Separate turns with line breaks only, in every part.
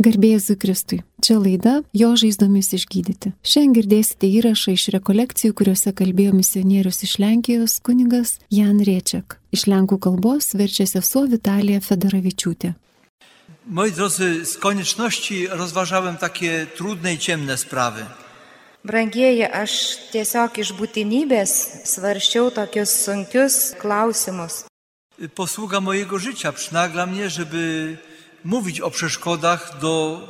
Garbėjusui Kristui. Čia laida Jo žaizdomis išgydyti. Šiandien girdėsite įrašą iš rekolekcijų, kuriuose kalbėjo misionierius iš Lenkijos kunigas Jan Riečiak. Iš lenkų kalbos verčia sesuo Vitalija Federavičiūtė.
Moi drodzy, z konieczności rozważałem takie trudne i ciemne sprawy.
Brangieji, aš tiesiog iš būtinybės svarščiau tokius sunkius klausimus.
Posługa mojego życia przynagla mnie, żeby mówić o przeszkodach do,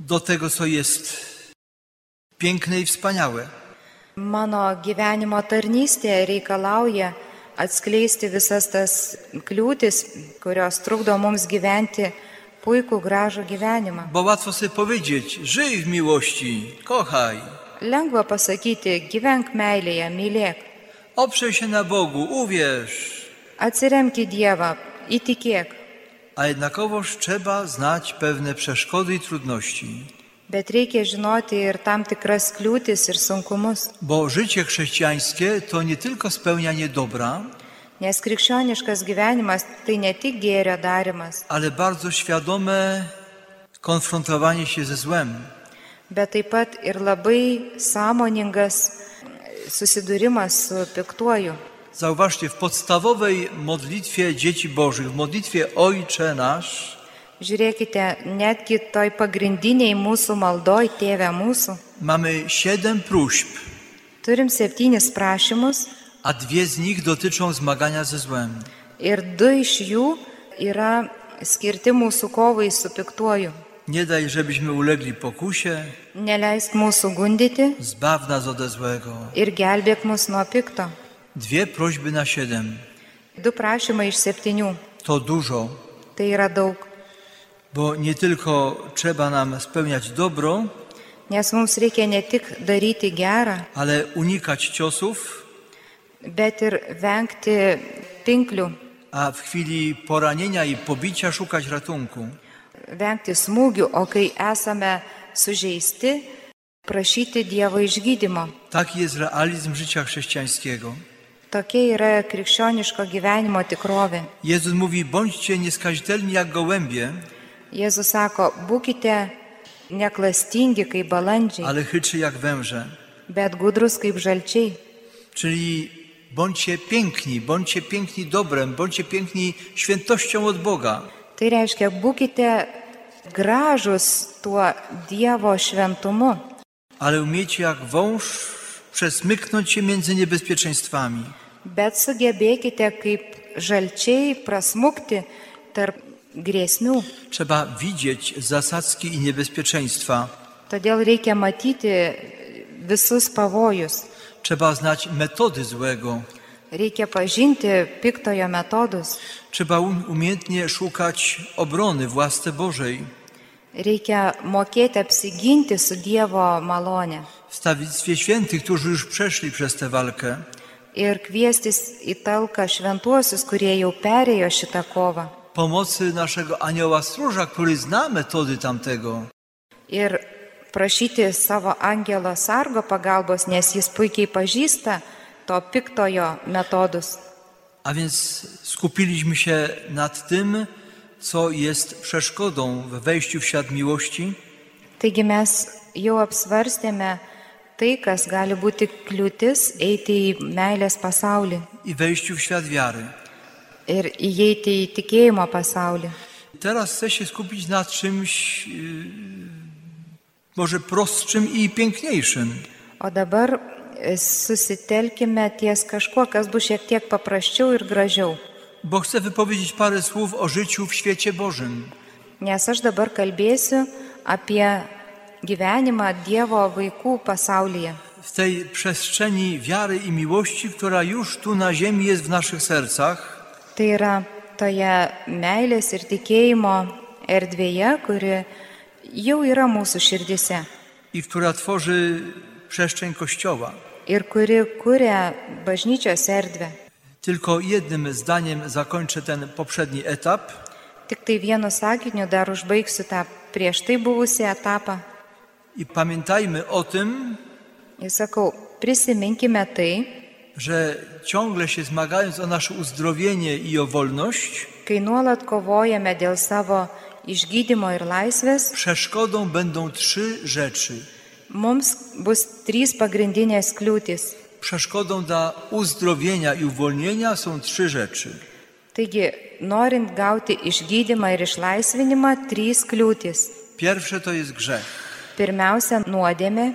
do tego, co jest piękne i wspaniałe.
Mano gyvenimo tarnystė reikalauja atskleisti visas tas kliūtis, kurios trukdo mums gyventi puikų gražų gyvenimą.
Bo łatwo sobie powiedzieć, żyj w miłości, kochaj,
Lengva pasakyti, gyvenk meilėje, mylėk,
oprzyj się na Bogu, uwierz.
atsiremk į Dievą, įtikėk,
A jednakowoż trzeba znać pewne przeszkody i trudności,
bet reikia žinoti ir tam tikras kliūtis ir sunkumus,
bo życie chrześcijańskie to nie tylko spełnianie dobra,
nes krikščioniškas gyvenimas tai ne tik gėrio darimas,
ale bardzo świadome konfrontowanie się ze złem.
bet taip pat ir labai sąmoningas susidūrimas su piktuoju.
Zauważcie, w podstawowej modlitwie dzieci Bożych, w modlitwie Ojcze nasz,
Žiūrėkite, netgi toj pagrindiniai mūsų maldoj, tėve mūsų,
mamy siedem próśb,
turim septynis prašymus
a dwie z nich dotyczą zmagania ze złem.
ir du iš jų yra skirti mūsų kovai su piktuoju.
Nie daj, żebyśmy ulegli pokusie,
Neleisk mūsų gundyti
zbaw nas ode złego.
ir gelbėk mus nuo pikto.
Dwie prośby na siedem.
Du prašymai iš septynių.
To dużo,
Tai yra daug,
bo nie tylko trzeba nam spełniać dobro,
nes mums reikia ne tik daryti gerą,
ale unikać ciosów,
bet ir vengti pinklių,
a w chwili poranienia i pobicia szukać ratunku.
vengti smūgių, o kai esame sužeisti, prašyti Dievo išgydymo.
Taki jest realizm życia chrześcijańskiego.
Tokia yra krikščioniško gyvenimo tikrovė.
Jezus mówi: bądźcie nieskazitelni jak gołębie,
Jėzus sako, būkite neklastingi kaip balandžiai,
ale chytrzy jak węże.
bet gudrus kaip žalčiai.
Czyli bądźcie piękni, bądźcie piękni dobrem, bądźcie piękni świętością od Boga.
Tai reiškia, būkite gražus tuo Dievo šventumu,
Ale umiecie jak wąż przesmyknąć się między niebezpieczeństwami.
bet sugebėkite kaip žalčiai prasmukti tarp grėsmių.
Trzeba widzieć zasadzki i niebezpieczeństwa.
Todėl reikia matyti visus pavojus,
Trzeba znać metody złego.
reikia pažinti piktojo metodus,
Trzeba um- umiejętnie szukać obrony w łasce Bożej.
reikia mokėti apsiginti su Dievo malone
W stawictwie świętych, którzy już przeszli przez tę walkę.
ir kviestis į talką šventuosius, kurie jau perėjo šitą kovą.
Pomocy naszego anioła stróża, który zna metody tamtego.
Ir prašyti savo angelo sargo pagalbos, nes jis puikiai pažįsta to piktojo metodus.
A więc skupiliśmy się nad tym, co jest przeszkodą w wejściu w świat miłości.
Taigi mes jau apsvarstėme tai, kas gali būti kliūtis eiti į meilės pasaulį
i wejściu w świat wiary.
ir įeiti į tikėjimo pasaulį.
Teraz chcę się skupić na czymś yy, może prostszym i piękniejszym.
O dabar e, susitelkime ties kažkuo, kas bus šiek tiek paprasčiau ir gražiau.
Bo chcę wypowiedzieć parę słów o życiu w świecie Bożym.
Nes aš dabar kalbėsiu apie gyvenimą Dievo vaikų pasaulyje.
W tej przestrzeni wiary i miłości, która już tu na ziemi jest w naszych sercach,
Tai yra toje meilės ir tikėjimo erdvėje, kuri jau yra mūsų širdise
i która tworzy przestrzeń Kościoła.
ir kuri kuria bažnyčios erdvę.
Tylko jednym zdaniem zakończę ten poprzedni etap.
Tik tai vienu sakiniu dar užbaigsiu tą prieš tai buvusią etapą.
I pamiętajmy o tym,
Ir sakau, prisiminkime tai,
że ciągle się zmagając o nasze uzdrowienie i o wolność,
kai nuolat kovojame dėl savo išgydymo ir laisvės,
Przeszkodą będą trzy rzeczy.
mums bus trys pagrindinės kliūtis.
Przeszkodą dla uzdrowienia i uwolnienia są trzy rzeczy.
Taigi, norint gauti išgydymą ir išlaisvinimą, trys kliūtis.
Pierwsze to jest grzech.
Pirmiausia, nuodėmė,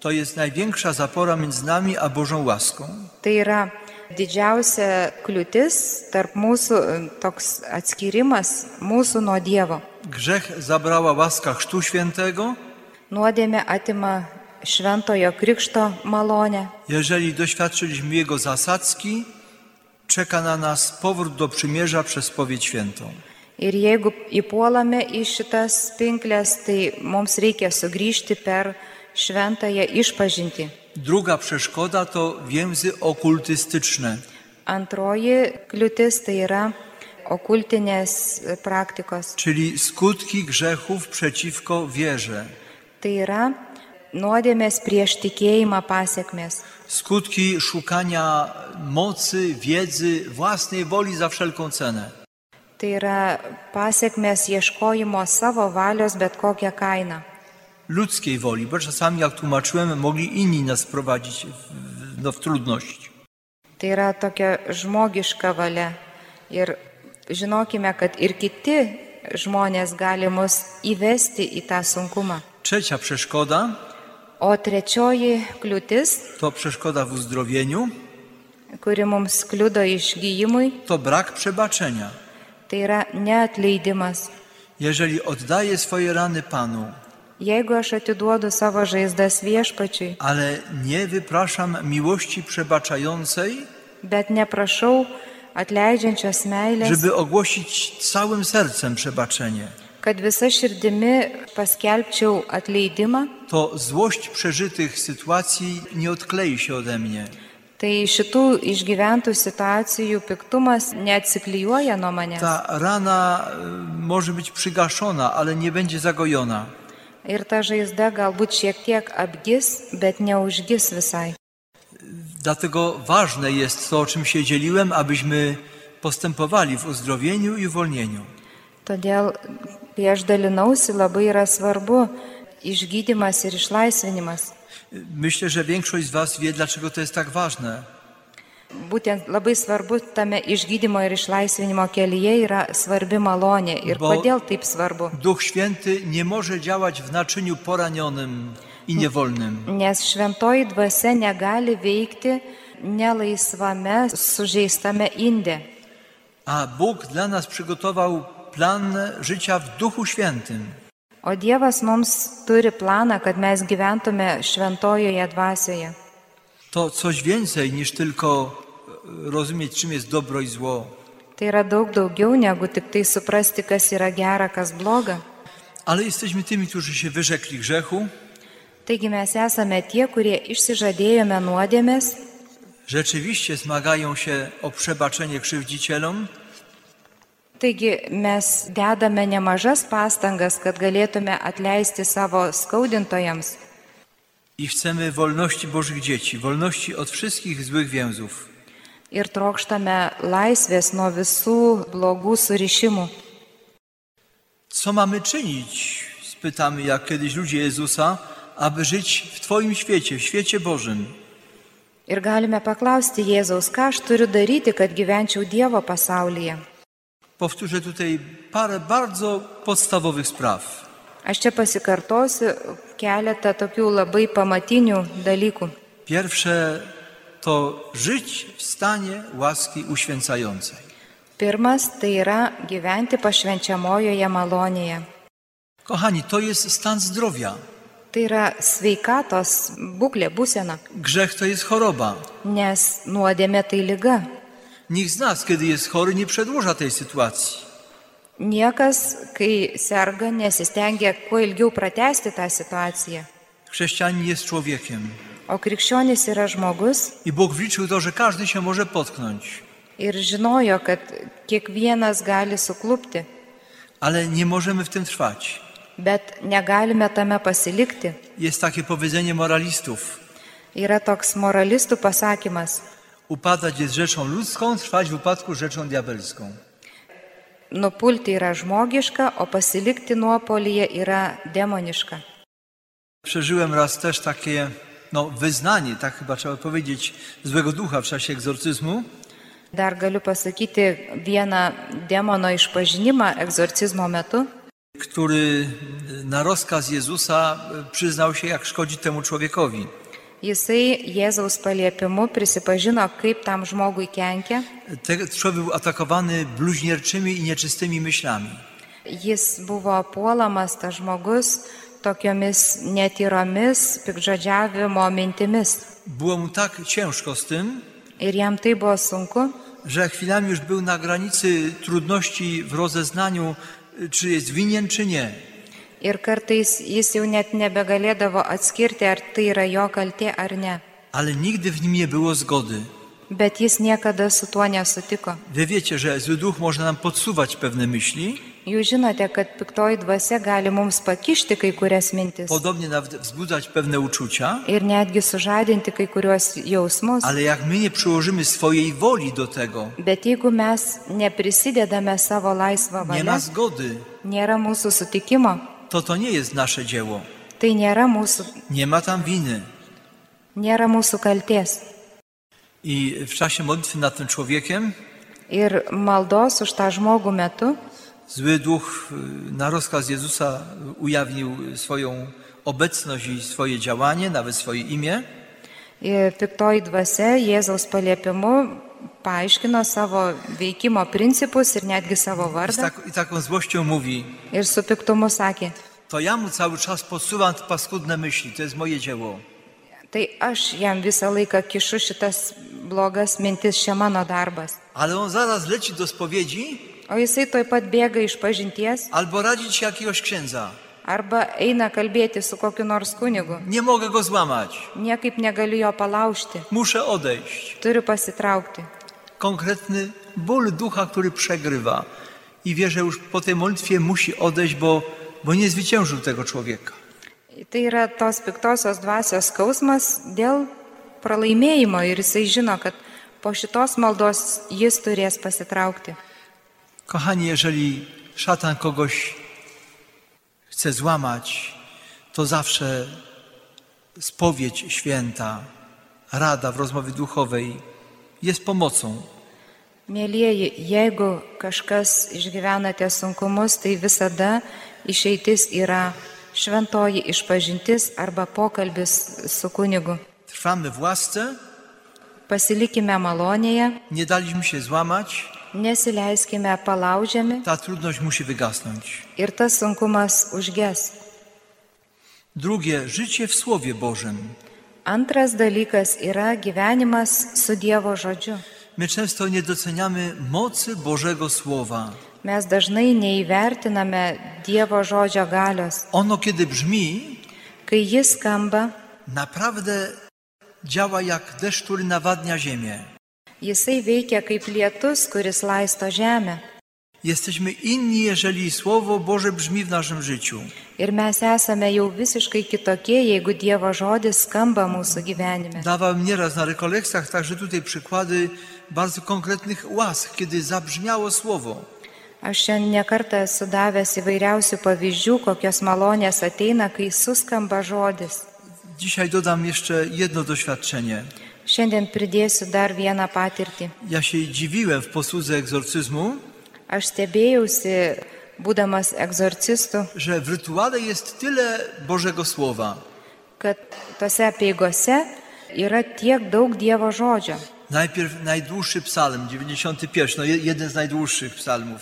To jest największa zapora między nami a Bożą łaską.
tai yra didžiausia kliūtis tarp mūsų, e, toks atskirimas mūsų nuo Dievo.
Grzech zabrała łaska Chrztu Świętego.
Nuodėmė atima šventojo krikšto malonę.
Jeżeli doświadczyliśmy Jego zasadzki, czeka na nas powrót do przymierza przez powiedź świętą.
Ir jeigu įpuolame į šitas pinklės, tai mums reikia sugrįžti per šventąją išpažinti.
Druga przeszkoda to więzy okultystyczne.
Antroji kliūtis tai yra okultinės e, praktikos.
czyli skutki grzechów przeciwko wierze,
Tai yra nuodėmės prieš tikėjimą pasiekmes.
skutki szukania mocy, wiedzy, własnej woli za wszelką cenę.
Tai yra pasiekmes ieškojimo savo valios bet kokią kainą.
Ludzkiej woli, bo czasami, jak tłumaczyłem, mogli inni nas prowadzić w, no, w trudność.
Tai yra tokia žmogiška valia. Ir žinokime, kad ir kiti žmonės gali mus įvesti į tą sunkumą.
Trzecia przeszkoda
O trečioji kliūtis,
to przeszkoda w uzdrowieniu,
kuri mums kliudo išgyjimui,
to brak przebaczenia.
tai yra neatleidimas.
Jeżeli oddaję swoje rany Panu,
Jeigu aš atiduodu savo žaizdas viešpačiui,
ale nie wypraszam miłości przebaczającej,
bet neprašau atleidžiančios meilės,
żeby ogłosić całym sercem przebaczenie.
kad visa širdimi paskelbčiau atleidimą,
to złość przeżytych sytuacji nie odklei się ode mnie.
tai šitų išgyventų situacijų piktumas neatsiklyjuoja nuo manęs.
Ta rana y, może być przygaszona, ale nie będzie zagojona.
Ir ta žaizda galbūt šiek tiek apgis, bet neužgis visai.
Dlatego ważne jest to, o czym się dzieliłem, abyśmy postępowali w uzdrowieniu i uwolnieniu.
Todėl, kai aš dalinausi, labai yra svarbu išgydymas ir išlaisvinimas.
Y, Myślę, że większość z Was wie, dlaczego to jest tak ważne.
Būtent labai svarbu tame išgydymo ir išlaisvinimo kelyje yra svarbi malonė. Ir
Bo-
kodėl taip svarbu?
Duch Święty nie może działać w naczyniu poranionym i niewolnym.
Nes šventoji dvasia negali veikti nelaisvame, sužeistame indė.
A Bóg dla nas przygotował plan życia w Duchu Świętym.
O Dievas mums turi planą, kad mes gyventume šventojoje dvasioje.
To coś więcej niż tylko e, rozumieć, czym jest dobro i zło.
Tai yra daug daugiau negu tik tai suprasti, kas yra gera, kas bloga.
Ale jesteśmy tymi, którzy się wyrzekli grzechu,
Taigi mes esame tie, kurie išsižadėjome nuodėmės,
rzeczywiście zmagają się o przebaczenie krzywdzicielom,
taigi mes dedame nemažas pastangas, kad galėtume atleisti savo skaudintojams.
i chcemy wolności Bożych dzieci, wolności od wszystkich złych więzów.
Ir trokštame laisvės nuo visų blogų surišimų.
Co mamy czynić? Spytamy, jak kiedyś ludzie Jezusa, aby żyć w Twoim świecie, w świecie Bożym.
Ir galime paklausti Jėzaus, ką aš turiu daryti, kad gyvenčiau Dievo pasaulyje.
Powtórzę tutaj parę bardzo podstawowych spraw.
Aš čia pasikartosiu keletą tokių labai pamatinių dalykų.
Pierwsze to żyć w stanie łaski uświęcającej.
Pirmas tai yra gyventi pašvenčiamojoje malonėje.
Kochani, to jest stan zdrowia.
Tai yra sveikatos būklė, būsena,
Grzech to jest choroba.
nes nuodėmė tai lyga.
Nikt z nas, kiedy jest chory, nie przedłuża tej sytuacji.
Niekas, kai serga, nesistengia kuo ilgiau pratesti tą situaciją.
Chrześcijanin jest człowiekiem
O krikščionis yra žmogus
i Bóg wliczył to, że każdy się może potknąć,
ir žinojo, kad kiekvienas gali suklupti,
ale nie możemy w tym trwać.
bet negalime tame pasilikti.
Jest takie powiedzenie moralistów:
Yra toks moralistų pasakymas,
upadać jest rzeczą ludzką, trwać w upadku rzeczą diabelską.
nupulti yra žmogiška, o pasilikti nuopolyje yra demoniška.
Przeżyłem raz też takie no, wyznanie, tak chyba trzeba powiedzieć, złego ducha w czasie egzorcyzmu.
Dar galiu pasakyti vieną demono išpažinimą egzorcizmo metu.
który y, na rozkaz Jezusa y, przyznał się, jak szkodzi temu człowiekowi.
Jisai Jėzaus paliepimu prisipažino, kaip tam žmogui kenkia.
Ten człowiek był atakowany bluźnierczymi i nieczystymi myślami.
Jis buvo puolamas tas žmogus tokiomis netyromis, pikžodžiavimo mintimis.
Było mu tak ciężko z tym,
Ir jam tai buvo sunku,
że chwilami już był na granicy trudności w rozeznaniu, y, czy jest winien, czy nie.
ir kartais jis jau net nebegalėdavo atskirti, ar tai yra jo kaltė ar ne.
Ale nigdy w nim nie było zgody.
Bet jis niekada su tuo nesutiko.
Wy wiecie, że zły duch może nam podsuwać pewne myśli,
Jūs žinote, kad piktoji dvasia gali mums pakišti kai kurias mintis
podobnie nawet wzbudzać pewne uczucia,
ir netgi sužadinti kai kuriuos jausmus.
ale jak my nie przyłożymy swojej woli do tego,
Bet jeigu mes neprisidedame savo laisvą
nie
valią,
ma zgody,
nėra mūsų sutikimo,
to to nie jest nasze dzieło.
tai nėra mūsų,
Nie ma tam winy.
nėra mūsų kalties.
I w czasie modlitwy nad tym człowiekiem
Ir maldos už tą žmogų metu
zły duch y, na rozkaz Jezusa ujawnił swoją obecność i swoje działanie, nawet swoje imię.
i piktoji dvasia Jėzaus paliepimu paaiškino savo veikimo principus ir netgi savo
I, z
vardą.
tak, I taką złością mówi,
Ir su piktumu sakė,
to ja mu cały czas podsuwam te paskudne myśli, to jest moje dzieło.
tai aš jam visą laiką kišu šitas blogas mintis, čia mano darbas.
Ale on zaraz leci do spowiedzi
O jisai toj pat bėga iš pažinties
albo radzi ci jakiegoś księdza.
arba eina kalbėti su kokiu nors kunigu.
Nie mogę go złamać,
Niekaip negaliu jo palaužti,
muszę odejść.
turiu pasitraukti.
Konkretny ból ducha, który przegrywa. I wie, że już po tej modlitwie musi odejść, bo, bo nie zwyciężył tego człowieka.
Tai yra tos piktosios dvasios skausmas dėl pralaimėjimo ir jisai žino, kad po šitos maldos jis turės pasitraukti.
Kochani, jeżeli szatan kogoś chce złamać, to zawsze spowiedź święta, rada w rozmowie duchowej jest pomocą.
Mėlyjeji, jeigu kažkas išgyvenate sunkumus, tai visada išeitis yra šventoji išpažintis arba pokalbis su kunigu.
Trwamy w łasce,
Pasilikime malonėje,
nie daliśmy się złamać,
nesileiskime palaužiami
ta trudność musi wygasnąć.
ir tas sunkumas užges.
Drugie, życie w Słowie Bożym.
Antras dalykas yra gyvenimas su Dievo žodžiu.
My często nie doceniamy mocy Bożego Słowa.
Mes dažnai neįvertiname Dievo žodžio galios.
Ono, kiedy brzmi,
Kai jis skamba,
naprawdę działa jak deszcz, który nawadnia ziemię.
jisai veikia kaip lietus, kuris laisto žemę.
Jesteśmy inni, jeżeli Słowo Boże brzmi w naszym życiu.
Ir mes esame jau visiškai kitokie, jeigu Dievo žodis skamba mūsų gyvenime.
Dawałem nieraz na rekolekcjach także tutaj przykłady bardzo konkretnych łask, kiedy zabrzmiało Słowo.
Aš šiandien nekartą esu davęs įvairiausių pavyzdžių, kokios malonės ateina, kai suskamba žodis.
Dzisiaj dodam jeszcze jedno doświadczenie.
Šiandien pridėsiu dar vieną patirtį.
Ja się dziwiłem w posłudze egzorcyzmu,
Aš stebėjausi, būdamas egzorcistu,
że w rytuale jest tyle Bożego Słowa.
kad tose apieigose yra tiek daug Dievo žodžio.
Najpierw najdłuższy psalm, 91, no je- jeden z najdłuższych psalmów,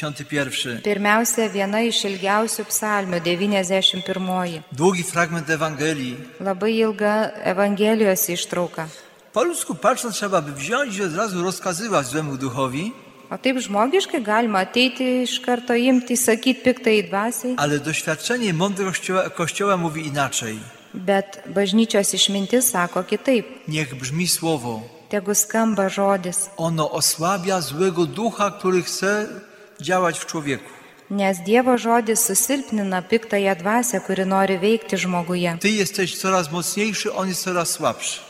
91.
Pirmiausia, viena iš ilgiausių psalmių - 91.
Długi fragment Ewangelii,
Labai ilga Evangelijos ištrauka.
Po ludzku patrząc, trzeba by wziąć i od razu rozkazywać złemu duchowi,
O taip žmogiškai galima ateiti iš karto imti, sakyti piktai dvasiai,
ale doświadczenie mądrego kościoła, kościoła mówi inaczej.
bet bažnyčios išmintis sako kitaip.
Niech brzmi słowo.
Tegu skamba žodis,
Ono osłabia złego ducha, który chce działać w człowieku.
nes Dievo žodis susilpnina piktąją dvasę, kuri nori veikti žmoguje.
Ty jesteś coraz mocniejszy, on jest coraz słabszy.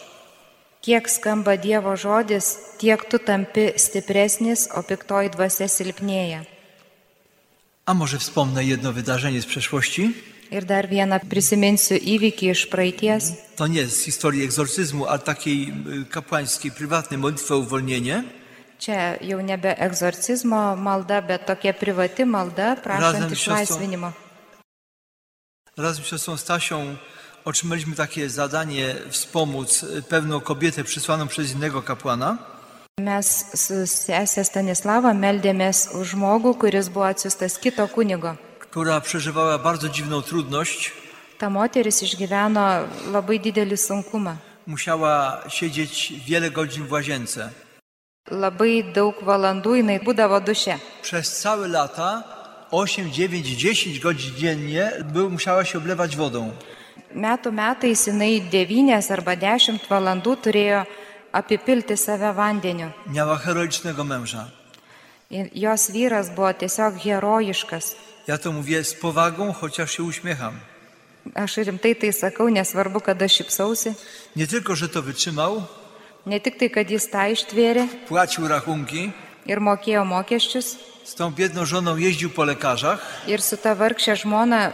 Kiek skamba Dievo žodis, tiek tu tampi stipresnis, o piktoji dvasia silpnėja.
A może wspomnę jedno wydarzenie z przeszłości?
Ir dar vieną prisiminsiu įvykį iš praeities.
To nie z historii egzorcyzmu, ale takiej y, kapłańskiej, prywatnej modlitwy o uwolnienie.
Čia jau nebe egzorcizmo malda, bet tokia privati malda, prašant
Razem iš šesto.
išlaisvinimo.
Razem z siostrą Stasią otrzymaliśmy takie zadanie wspomóc y, pewną kobietę przysłaną przez innego kapłana.
Mes su sesė Stanislava meldėmės už žmogų, kuris buvo atsiustas kito kunigo.
która przeżywała bardzo dziwną trudność.
Ta moteris išgyveno labai didelį sunkumą.
Musiała siedzieć wiele godzin w łazience.
Labai daug valandų jinai būdavo duše.
Przez całe lata 8, 9, 10 godzin dziennie był, musiała się oblewać wodą.
Metų metais jinai 9 arba 10 valandų turėjo apipilti save vandeniu.
Miała heroicznego męża.
Ir Jos vyras buvo tiesiog herojiškas.
Ja to mówię z powagą, chociaż się uśmiecham.
Aš rimtai tai sakau, nesvarbu, kada šipsausi.
Nie tylko, że to wytrzymał,
Ne tik tai, kad jis tą ištvėrė
płacił rachunki,
ir mokėjo mokesčius,
z tą biedną żoną jeździł po lekarzach,
ir su ta vargšė žmona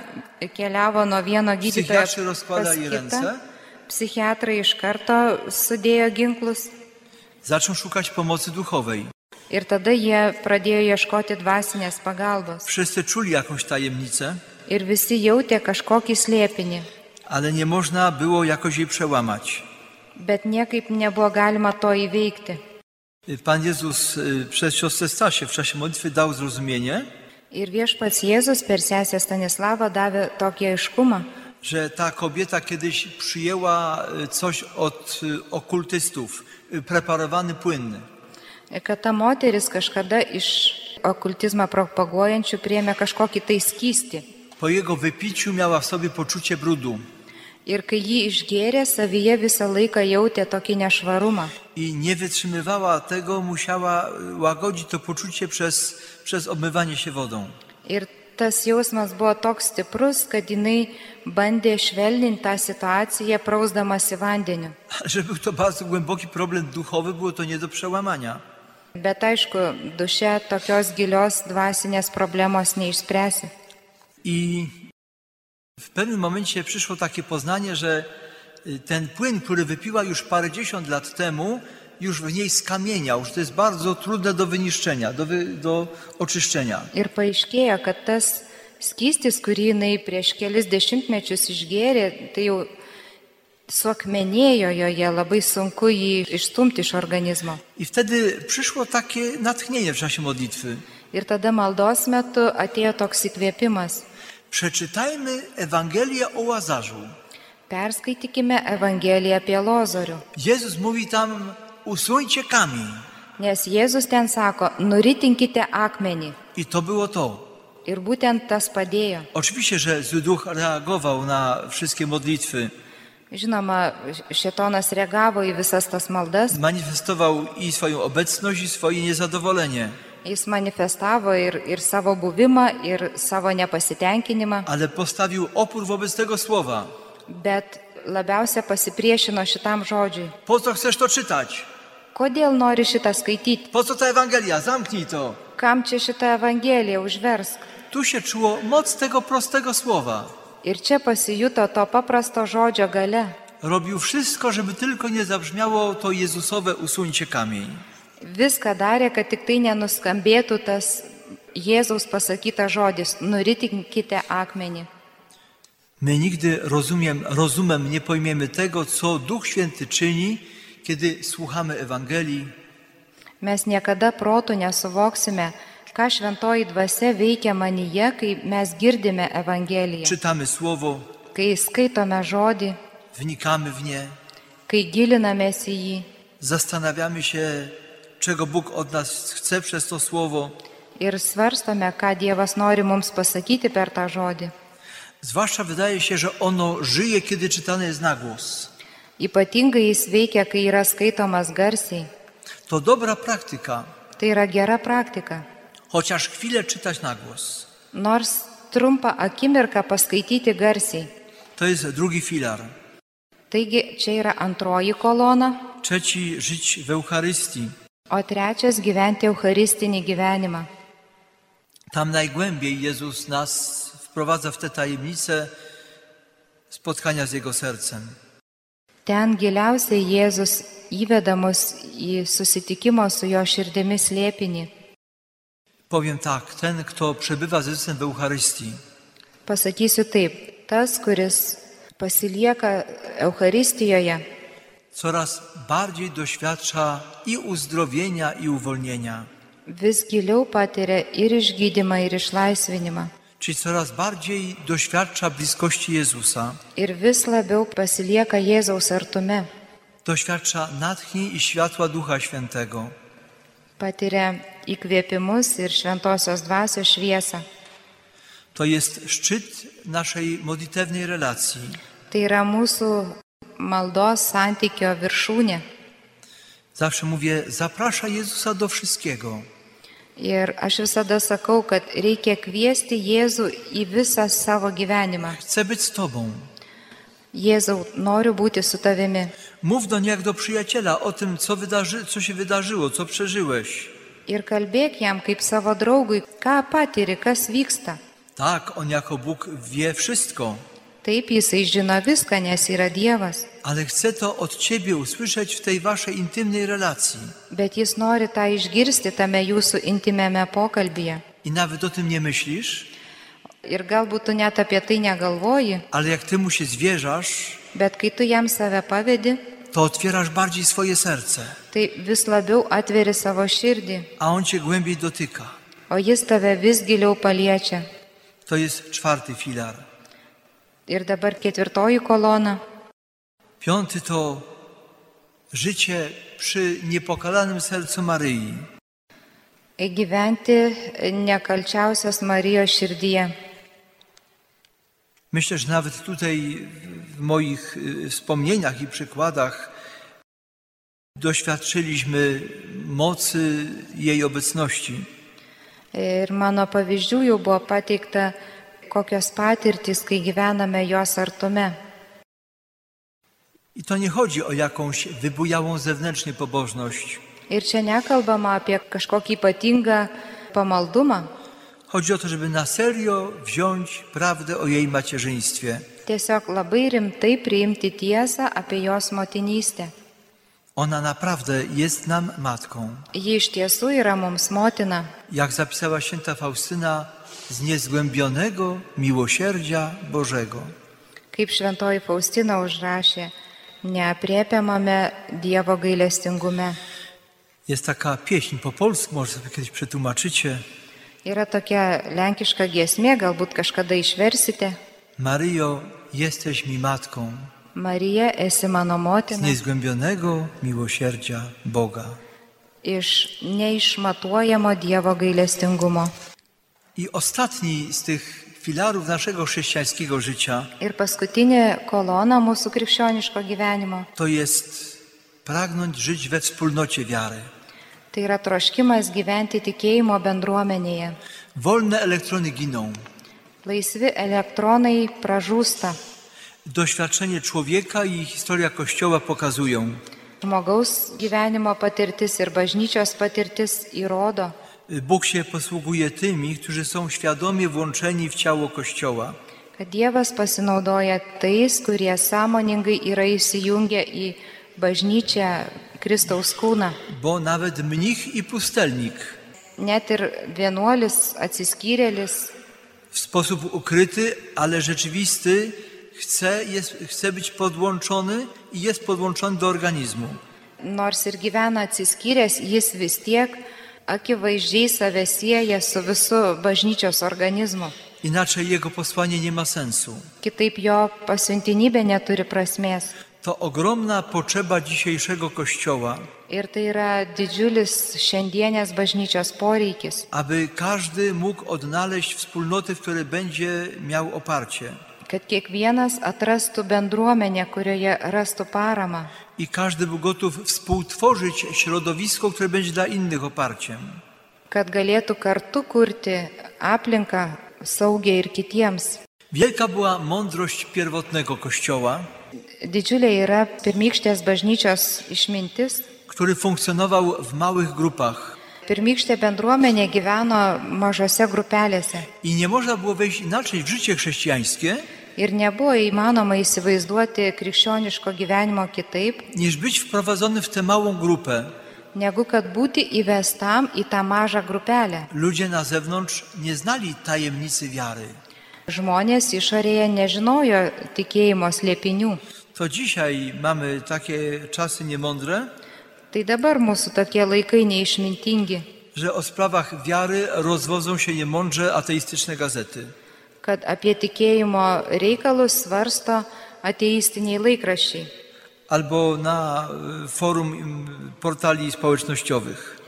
keliavo nuo vieno gydytojo
psichiatrzy rozkładali ręce,
Psichiatrai iš karto sudėjo ginklus
zaczął szukać pomocy duchowej.
ir tada jie pradėjo ieškoti dvasinės pagalbos.
Wszyscy czuli jakąś tajemnicę,
Ir visi jautė kažkokį slėpinį,
ale nie można było jakoś jej przełamać.
bet niekaip nebuvo galima to įveikti.
Pan Jezus y, przez siostrę Stasię w czasie modlitwy dał zrozumienie,
Ir viešpats Jėzus per sesę Stanislavą davė tokį aiškumą,
że ta kobieta kiedyś przyjęła y, coś od y, okultystów, y, preparowany płyn.
kad ta moteris kažkada iš okultizmą propaguojančių priemė kažkokį tai skysti.
Po jego wypiciu miała w sobie poczucie brudu
Ir kai jį išgėrė, savyje visą laiką jautė tokį nešvarumą.
i nie wytrzymywała tego, musiała y, łagodzić to poczucie przez, przez obmywanie się wodą.
Ir tas jausmas buvo toks stiprus, kad jinai bandė švelninti tą situaciją, prausdamasi vandeniu.
Że był to bardzo głęboki problem duchowy, było to nie do przełamania.
Bet aišku, duše tokios gilios dvasinės problemos neišspręsi.
I w pewnym momencie przyszło takie poznanie, że y, ten płyn, który wypiła już parędziesiąt lat temu, już w niej skamieniał, że to jest bardzo trudne do wyniszczenia, do, wy, do oczyszczenia.
Ir paaiškėjo, kad tas skystis, kurį jinai prieš kelis dešimtmečius išgėrė, tai jau suakmenėjo joje, labai sunku jį išstumti iš organizmo.
I wtedy przyszło takie natchnienie w czasie modlitwy.
Ir tada maldos metu atėjo toks įkvėpimas.
Przeczytajmy Ewangelię o Łazarzu.
Perskaitykime Evangeliją apie Lozorių,
Jezus mówi tam, usuńcie kamień.
nes Jėzus ten sako, nuritinkite akmenį.
I to było to.
Ir būtent tas padėjo.
Oczywiście, że zły duch reagował na wszystkie modlitwy.
Žinoma, Šetonas reagavo į visas tas maldas,
manifestował i swoją obecność, i swoje niezadowolenie.
jis manifestavo ir, ir savo buvimą, ir savo nepasitenkinimą,
Ale postawił opór wobec tego słowa.
bet labiausia pasipriešino šitam žodžiui.
Po co chcesz to czytać?
Kodėl nori šitą skaityti?
Po co ta Ewangelia? Zamknij to.
Kam čia šitą Evangeliją užversk?
Tu się czuło moc tego prostego słowa.
Ir čia pasijuto to paprasto žodžio gale.
Robił wszystko, żeby tylko nie zabrzmiało to Jezusowe usuńcie kamień.
Viską darė, kad tik tai nenuskambėtų tas Jėzaus pasakytas žodis - nuritinkite akmenį.
My nigdy rozumiem, rozumem nie pojmiemy tego, co Duch Święty czyni, kiedy słuchamy Ewangelii,
Mes niekada protų nesuvoksime, ką šventoji dvasia veikia manyje, kai mes girdime Evangeliją,
czytamy Słowo,
kai skaitome žodį,
wnikamy w nie,
kai gilinamės į jį
zastanawiamy się, czego Bóg od nas chce przez to słowo.
ir svarstome, ką Dievas nori mums pasakyti per tą žodį.
Zwłaszcza wydaje się, że ono żyje, kiedy czytane jest na głos.
Ypatingai jis veikia, kai yra skaitomas garsiai.
To dobra praktyka,
Tai yra gera praktika.
chociaż chwilę czytać na głos.
Nors trumpą akimirką paskaityti garsiai.
To jest drugi filar.
Taigi čia yra antroji kolona,
Trzeci, żyć w Eucharystii.
o trečias gyventi Eucharistinį gyvenimą.
Tam najgłębiej Jezus nas wprowadza w tę tajemnicę spotkania z Jego sercem.
Ten giliausiai Jėzus įveda mus į susitikimo su jo širdimi slėpinį.
Powiem tak, ten, kto przebywa z Jezusem w Eucharystii,
Pasakysiu taip, tas, kuris pasilieka Eucharistijoje,
coraz bardziej doświadcza i uzdrowienia, i uwolnienia.
vis giliau patiria ir išgydymą, ir išlaisvinimą.
Czyli coraz bardziej doświadcza bliskości Jezusa,
Ir vis labiau pasilieka Jėzaus artume,
doświadcza natchnień i światła Ducha Świętego.
patiria įkvėpimus ir šventosios dvasios šviesą.
To jest szczyt naszej modlitewnej relacji.
Tai yra mūsų maldos santykio viršūnė.
Zawsze mówię, zaprasza Jezusa do wszystkiego.
Ir aš visada sakau, kad reikia kviesti Jėzų į visą savo gyvenimą.
Chcę być z Tobą.
Jėzau, noriu būti su tavimi.
Mów do niej jak do przyjaciela o tym, co, wydarzy, co się wydarzyło, co przeżyłeś.
Ir kalbėk jam kaip savo draugui, ką patiri, kas vyksta.
Tak, On jako Bóg wie wszystko,
Taip jisai žino viską, nes yra Dievas,
ale chce to od Ciebie usłyszeć w tej Waszej intymnej relacji.
bet jis nori tą išgirsti tame jūsų intimėme pokalbėje.
I nawet o tym nie myślisz,
Ir galbūt tu net apie tai negalvoji,
ale jak Ty Mu się zwierzasz,
bet kai tu jam save pavedi,
to otwierasz bardziej swoje serce,
tai vis labiau atveri savo širdį,
a On Cię głębiej dotyka.
o jis tave vis giliau paliečia.
To jest czwarty filar.
Ir dabar ketvirtoji kolona.
Piąty to życie przy niepokalanym sercu Maryi.
Gyventi nekalčiausios Marijos širdyje.
Myślę, że nawet tutaj w moich y, wspomnieniach i przykładach doświadczyliśmy mocy jej obecności.
Ir mano pavyzdžių jau buvo pateikta, kokios patirtys, kai gyvename jos artume.
I to nie chodzi o jakąś wybujałą zewnętrznie pobożność.
Ir čia nekalbama apie kažkokį ypatingą pamaldumą.
Chodzi o to, żeby na serio wziąć prawdę o jej macierzyństwie.
Tiesiog labai rimtai priimti tiesą apie jos motinystę.
Ona naprawdę jest nam matką.
Ji iš tiesų yra mums motina.
jak zapisała święta Faustyna, z niezgłębionego miłosierdzia Bożego.
Kaip šventoji Faustina užrašė, neapriepiamame Dievo gailestingume.
Jest taka pieśń po polsku, może sobie kiedyś przetłumaczycie.
Yra tokia lenkiška giesmė, galbūt kažkada išversite.
Maryjo, jesteś mi matką
Marija, esi mano
z
motina.
niezgłębionego miłosierdzia Boga.
iš neišmatuojamo Dievo gailestingumo.
I ostatni z tych filarów naszego chrześcijańskiego życia
Ir paskutinė kolona mūsų krikščioniško gyvenimo
to jest pragnąć żyć we wspólnocie wiary.
- tai yra troškimas gyventi tikėjimo bendruomenėje.
Wolne elektrony giną.
Laisvi elektronai pražūsta.
Doświadczenie człowieka i historia Kościoła pokazują,
Žmogaus gyvenimo patirtis ir bažnyčios patirtis įrodo,
y, Bóg się posługuje tymi, którzy są świadomie włączeni w ciało Kościoła.
kad Dievas pasinaudoja tais, kurie sąmoningai yra įsijungę į bažnyčią Kristaus kūną.
Bo nawet mnich i pustelnik
Net ir vienuolis atsiskyrėlis
w sposób ukryty, ale rzeczywisty chce, jest, chce być podłączony i jest podłączony do organizmu.
Nors ir gyvena atsiskyręs, jis vis tiek akivaizdžiai save sieja su visu bažnyčios organizmu.
Inaczej jego posłanie nie ma sensu.
Kitaip jo pasiuntinybė neturi prasmės.
To ogromna potrzeba dzisiejszego Kościoła,
Ir tai yra didžiulis šiandienės bažnyčios poreikis,
aby każdy mógł odnaleźć wspólnoty, w której będzie miał oparcie.
kad kiekvienas atrastų bendruomenę, kurioje rastų paramą.
I każdy był gotów współtworzyć środowisko, które będzie dla innych oparciem.
Kad galėtų kartu kurti aplinką saugiai ir kitiems.
Wielka była mądrość pierwotnego Kościoła,
Didžiulė yra pirmykštės bažnyčios išmintis,
który funkcjonował w małych grupach.
Pirmykštė bendruomenė gyveno mažose grupelėse
I nie można było wejść inaczej w życie chrześcijańskie,
ir nebuvo įmanoma įsivaizduoti krikščioniško gyvenimo kitaip,
niż być wprowadzonym w tę małą grupę.
negu kad būti įvestam į tą mažą grupelę.
Ludzie na zewnątrz nie znali tajemnicy wiary.
Žmonės išorėje nežinojo tikėjimo slėpinių.
To dzisiaj mamy takie czasy niemądre,
Tai dabar mūsų tokie laikai neišmintingi,
że o sprawach wiary rozwodzą się niemądrze ateistyczne gazety.
kad apie tikėjimo reikalus svarsto ateistiniai laikraščiai
Albo na y, forum y, portali społecznościowych.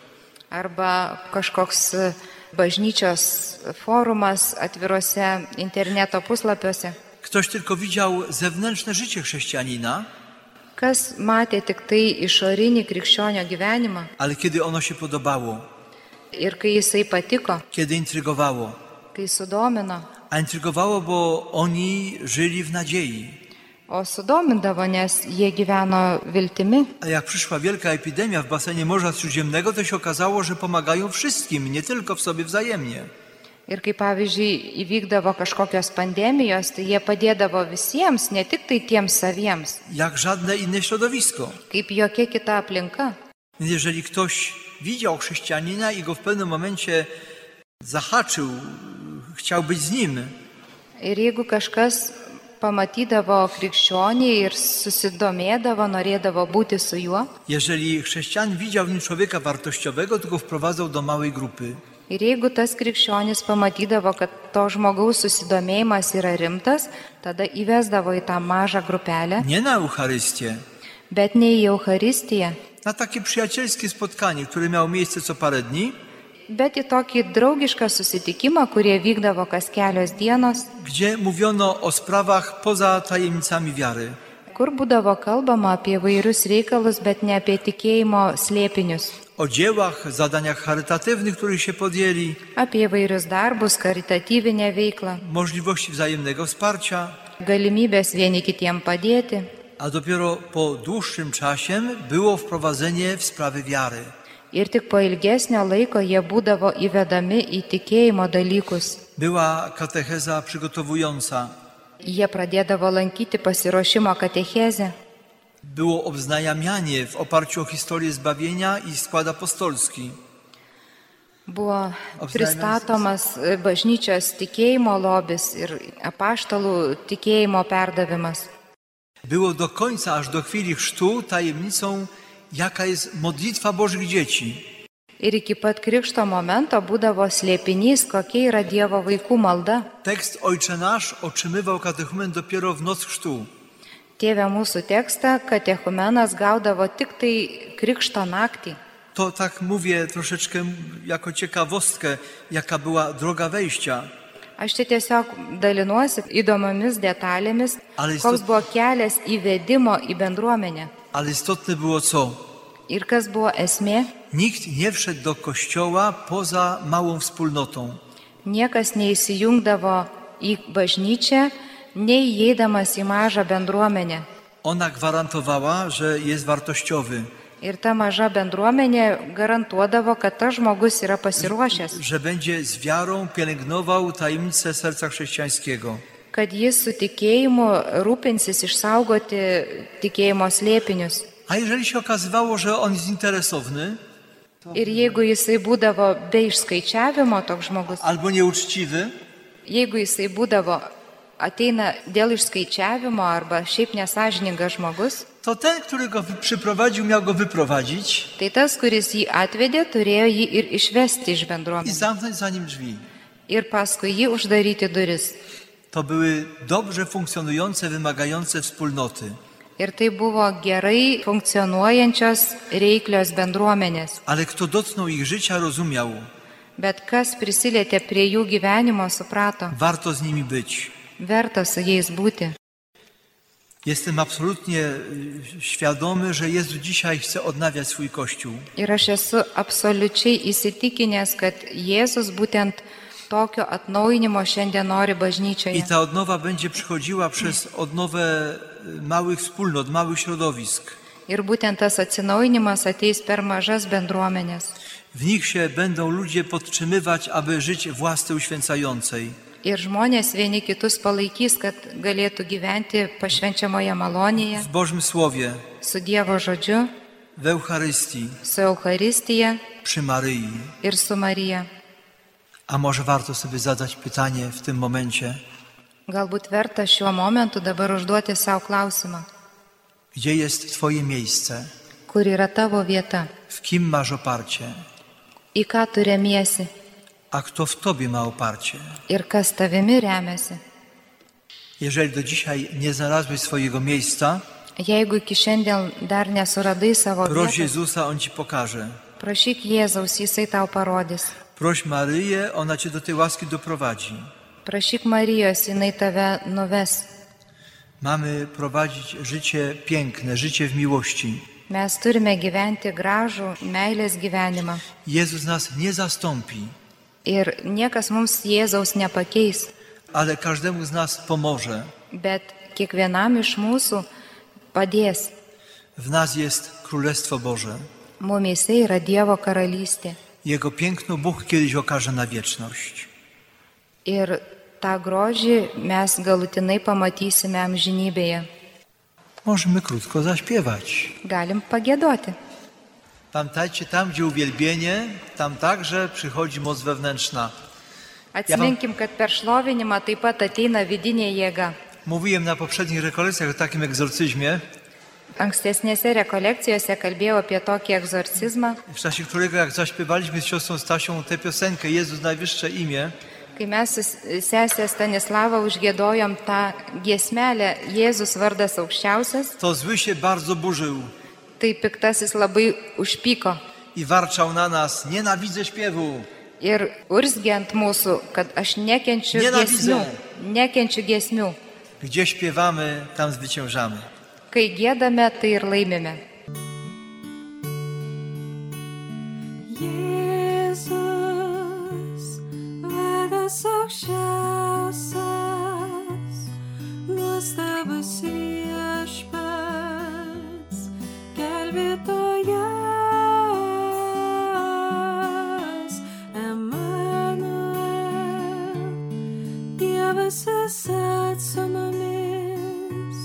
arba kažkoks e, bažnyčios forumas atvirose interneto puslapiuose.
Ktoś tylko widział zewnętrzne życie chrześcijanina,
Kas matė tik tai išorinį krikščionio gyvenimą
ale kiedy ono się podobało,
ir kai jisai patiko,
kiedy intrygowało.
kai sudomino,
A intrygowało, bo oni żyli w nadziei.
o sudomindavo, nes jie gyveno viltimi.
A jak przyszła wielka epidemia w basenie Morza Śródziemnego, to się okazało, że pomagają wszystkim, nie tylko w sobie wzajemnie.
Ir kai pavyzdžiui įvykdavo kažkokios pandemijos, tai jie padėdavo visiems, ne tik tai tiems saviems,
Jak żadne inne środowisko.
kaip jokia kita aplinka.
Więc jeżeli ktoś widział chrześcijanina i go w pewnym momencie zahaczył, chciał być z nim,
Ir jeigu kažkas pamatydavo krikščionį ir susidomėdavo, norėdavo būti su juo,
jeżeli chrześcijan widział w nim człowieka wartościowego, to go wprowadzał do małej grupy.
ir jeigu tas krikščionis pamatydavo, kad to žmogaus susidomėjimas yra rimtas, tada įvesdavo į tą mažą grupelę,
Nie na Eucharystię,
bet ne į Eucharistiją,
na takie przyjacielskie spotkanie, które miało miejsce co parę dni,
bet į tokį draugišką susitikimą, kurie vykdavo kas kelios dienos
gdzie mówiono o sprawach poza tajemnicami wiary.
kur būdavo kalbama apie vairius reikalus, bet ne apie tikėjimo slėpinius,
O dziełach, zadaniach charytatywnych, których się podjęli,
apie vairius darbus, karitatyvinę veiklą,
możliwości wzajemnego wsparcia,
galimybės vieni kitiem padėti.
a dopiero po dłuższym czasie było wprowadzenie w sprawy wiary.
Ir tik po ilgesnio laiko jie būdavo įvedami į tikėjimo dalykus.
Była katecheza przygotowująca,
Jie pradėdavo lankyti pasiruošimo katechezę,
było obznajamianie w oparciu o historię zbawienia i skład apostolski.
buvo
Apsinaimėjusios.
pristatomas e, bažnyčios tikėjimo lobis ir apaštalų tikėjimo perdavimas.
Było do końca, aż do chwili chrztu, tajemnicą, jaka jest modlitwa Bożych dzieci.
Ir iki pat krikšto momento būdavo slėpinys, kokia yra Dievo vaikų malda.
Tekst Ojcze Nasz otrzymywał katechumen dopiero w noc chrztu.
Tėvė mūsų tekstą katechumenas gaudavo tik tai krikšto naktį.
To tak mówię troszeczkę jako ciekawostkę, jaka była droga wejścia.
Aš čia tiesiog dalinuosi įdomiomis detalėmis,
Ale jis
koks
tu-
buvo kelias įvedimo į bendruomenę
Ale istotne było co?
ir kas buvo esmė.
Nikt nie wszedł do kościoła poza małą wspólnotą.
Niekas neįsijungdavo į bažnyčią, neįeidamas į mažą bendruomenę.
Ona gwarantowała, że jest wartościowy,
Ir ta maža bendruomenė garantuodavo, kad tas žmogus yra pasiruošęs,
że będzie z wiarą pielęgnował tajemnicę serca chrześcijańskiego.
kad jis su tikėjimu rūpinsis išsaugoti tikėjimo slėpinius.
A jeżeli się okazywało, że on jest interesowny
Ir jeigu jisai būdavo be išskaičiavimo toks žmogus,
albo nieuczciwy,
jeigu jisai būdavo ateina dėl išskaičiavimo arba šiaip nesažiningas žmogus,
to ten, który go wy- przyprowadził, miał go wyprowadzić
tai tas, kuris jį atvedė, turėjo jį ir išvesti iš
i
bendruomenės
zamknąć za nim drzwi.
ir paskui jį uždaryti duris.
To były dobrze funkcjonujące, wymagające wspólnoty.
Ir tai buvo gerai funkcionuojančios reiklios bendruomenės,
Ale kto dotknął ich życia, rozumiał,
bet kas prisilietė prie jų gyvenimo, suprato,
warto z nimi być.
verta su jais būti.
Jestem absolutnie y, świadomy, że Jezus dzisiaj chce odnawiać swój Kościół.
Ir aš esu absoliučiai įsitikinęs, kad Jėzus būtent tokio atnaujinimo šiandien nori
I
bažnyčioje.
ta odnowa będzie przychodziła przez odnowę y, małych wspólnot, małych środowisk.
Ir būtent tas atsinaujinimas ateis per mažas bendruomenės.
W nich się będą ludzie podtrzymywać, aby żyć w łasce uświęcającej.
Ir žmonės vieni kitus palaikys, kad galėtų gyventi pašvenčiamoje malonėje,
W Bożym Słowie,
su Dievo žodžiu,
w Eucharystii,
su Eucharistija
przy Maryi.
ir su Marija.
A może warto sobie zadać pytanie w tym momencie,
Galbūt verta šiuo momentu dabar užduoti savo klausimą,
gdzie jest Twoje miejsce?
kur yra tavo vieta,
W kim masz oparcie?
į ką tu remiesi
A kto w Tobie ma oparcie?
ir kas tavimi remiasi.
Jeżeli do dzisiaj nie znalazłeś swojego miejsca,
Jeigu iki šiandien dar nesuradai savo
proś
vietos,
Jezusa, On Ci pokaże.
prašyk Jėzaus, jisai tau parodys.
Proś Maryję, ona Cię do tej łaski doprowadzi.
Prašyk Marijos, jinai tave nuves.
Mamy prowadzić życie piękne, życie w miłości.
Mes turime gyventi gražų meilės gyvenimą.
Jezus nas nie zastąpi,
Ir niekas mums Jėzaus nepakeis,
ale każdemu z nas pomoże.
bet kiekvienam iš mūsų padės.
W nas jest Królestwo Boże.
Mumise yra Dievo karalystė.
Jego piękno Bóg kiedyś okaże na wieczność.
Ir tą grožį mes galutinai pamatysime amžinybėje.
Możemy krótko zaśpiewać.
Galim pagėdoti.
Pamiętajcie, tam gdzie uwielbienie, tam także przychodzi moc wewnętrzna.
Atsiminkim, kad per šlovinimą taip pat ateina vidinė jėga.
Mówiłem na poprzednich rekolekcjach o takim egzorcyzmie,
Ankstesnėse rekolekcijose kalbėjau apie tokį egzorcizmą,
w czasie którego jak zaśpiewaliśmy z siostrą Stasią tę piosenkę Jezus Najwyższe Imię,
kai mes su sesė Stanislavą užgėdojom tą giesmelę Jėzus vardas aukščiausias,
to zły się bardzo burzył
tai piktasis labai užpyko
i warczał na nas, nienawidzę śpiewu.
ir urzgė ant mūsų, kad aš nekenčiu
Nenavidzę.
giesmių. Nekenčiu giesmių.
Gdzie śpiewamy, tam zwyciężamy.
Kai gėdame, tai ir laimime.
Jėzus, vadas aukščiausias, nuostabus viešpats, gelbėtojas, Emanuel, Dievas esat su mumis,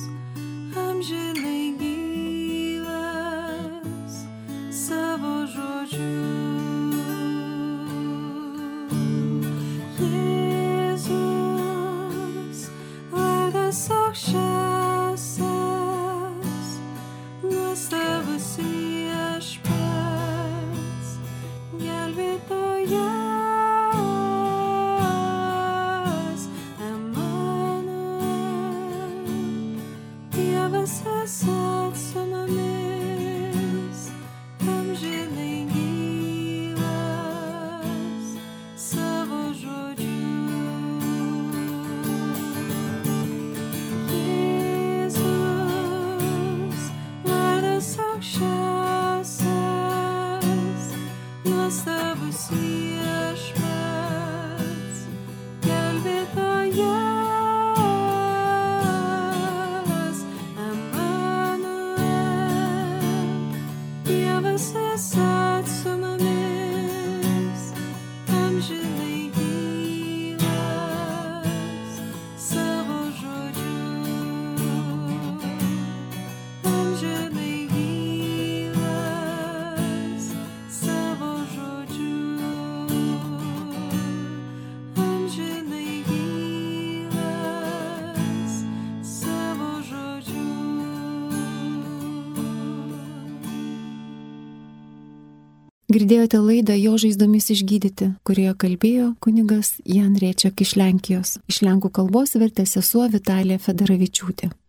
amžinai gyvas savo žodžiu. Jėzus, vardas aukščiausias, nuostabus viešpats, gelbėtojas, Emanuel. Dievas esat su mumis, amžinai gyvas savo žodžiu. Jėzus, vardas aukščiausias, nuostabus viešpats, gelbėtojas, Emanuel, Dievas esat su mumis, amžinai gyvas savo žodžiu. Amžinai gyvas savo žodžiu. Amžinai gyvas savo žodžiu.
Girdėjote laidą Jo žaizdomis išgydyti, kurioje kalbėjo kunigas Jan Riečiak iš Lenkijos. Iš lenkų kalbos vertė sesuo Vitalija Federavičiūtė.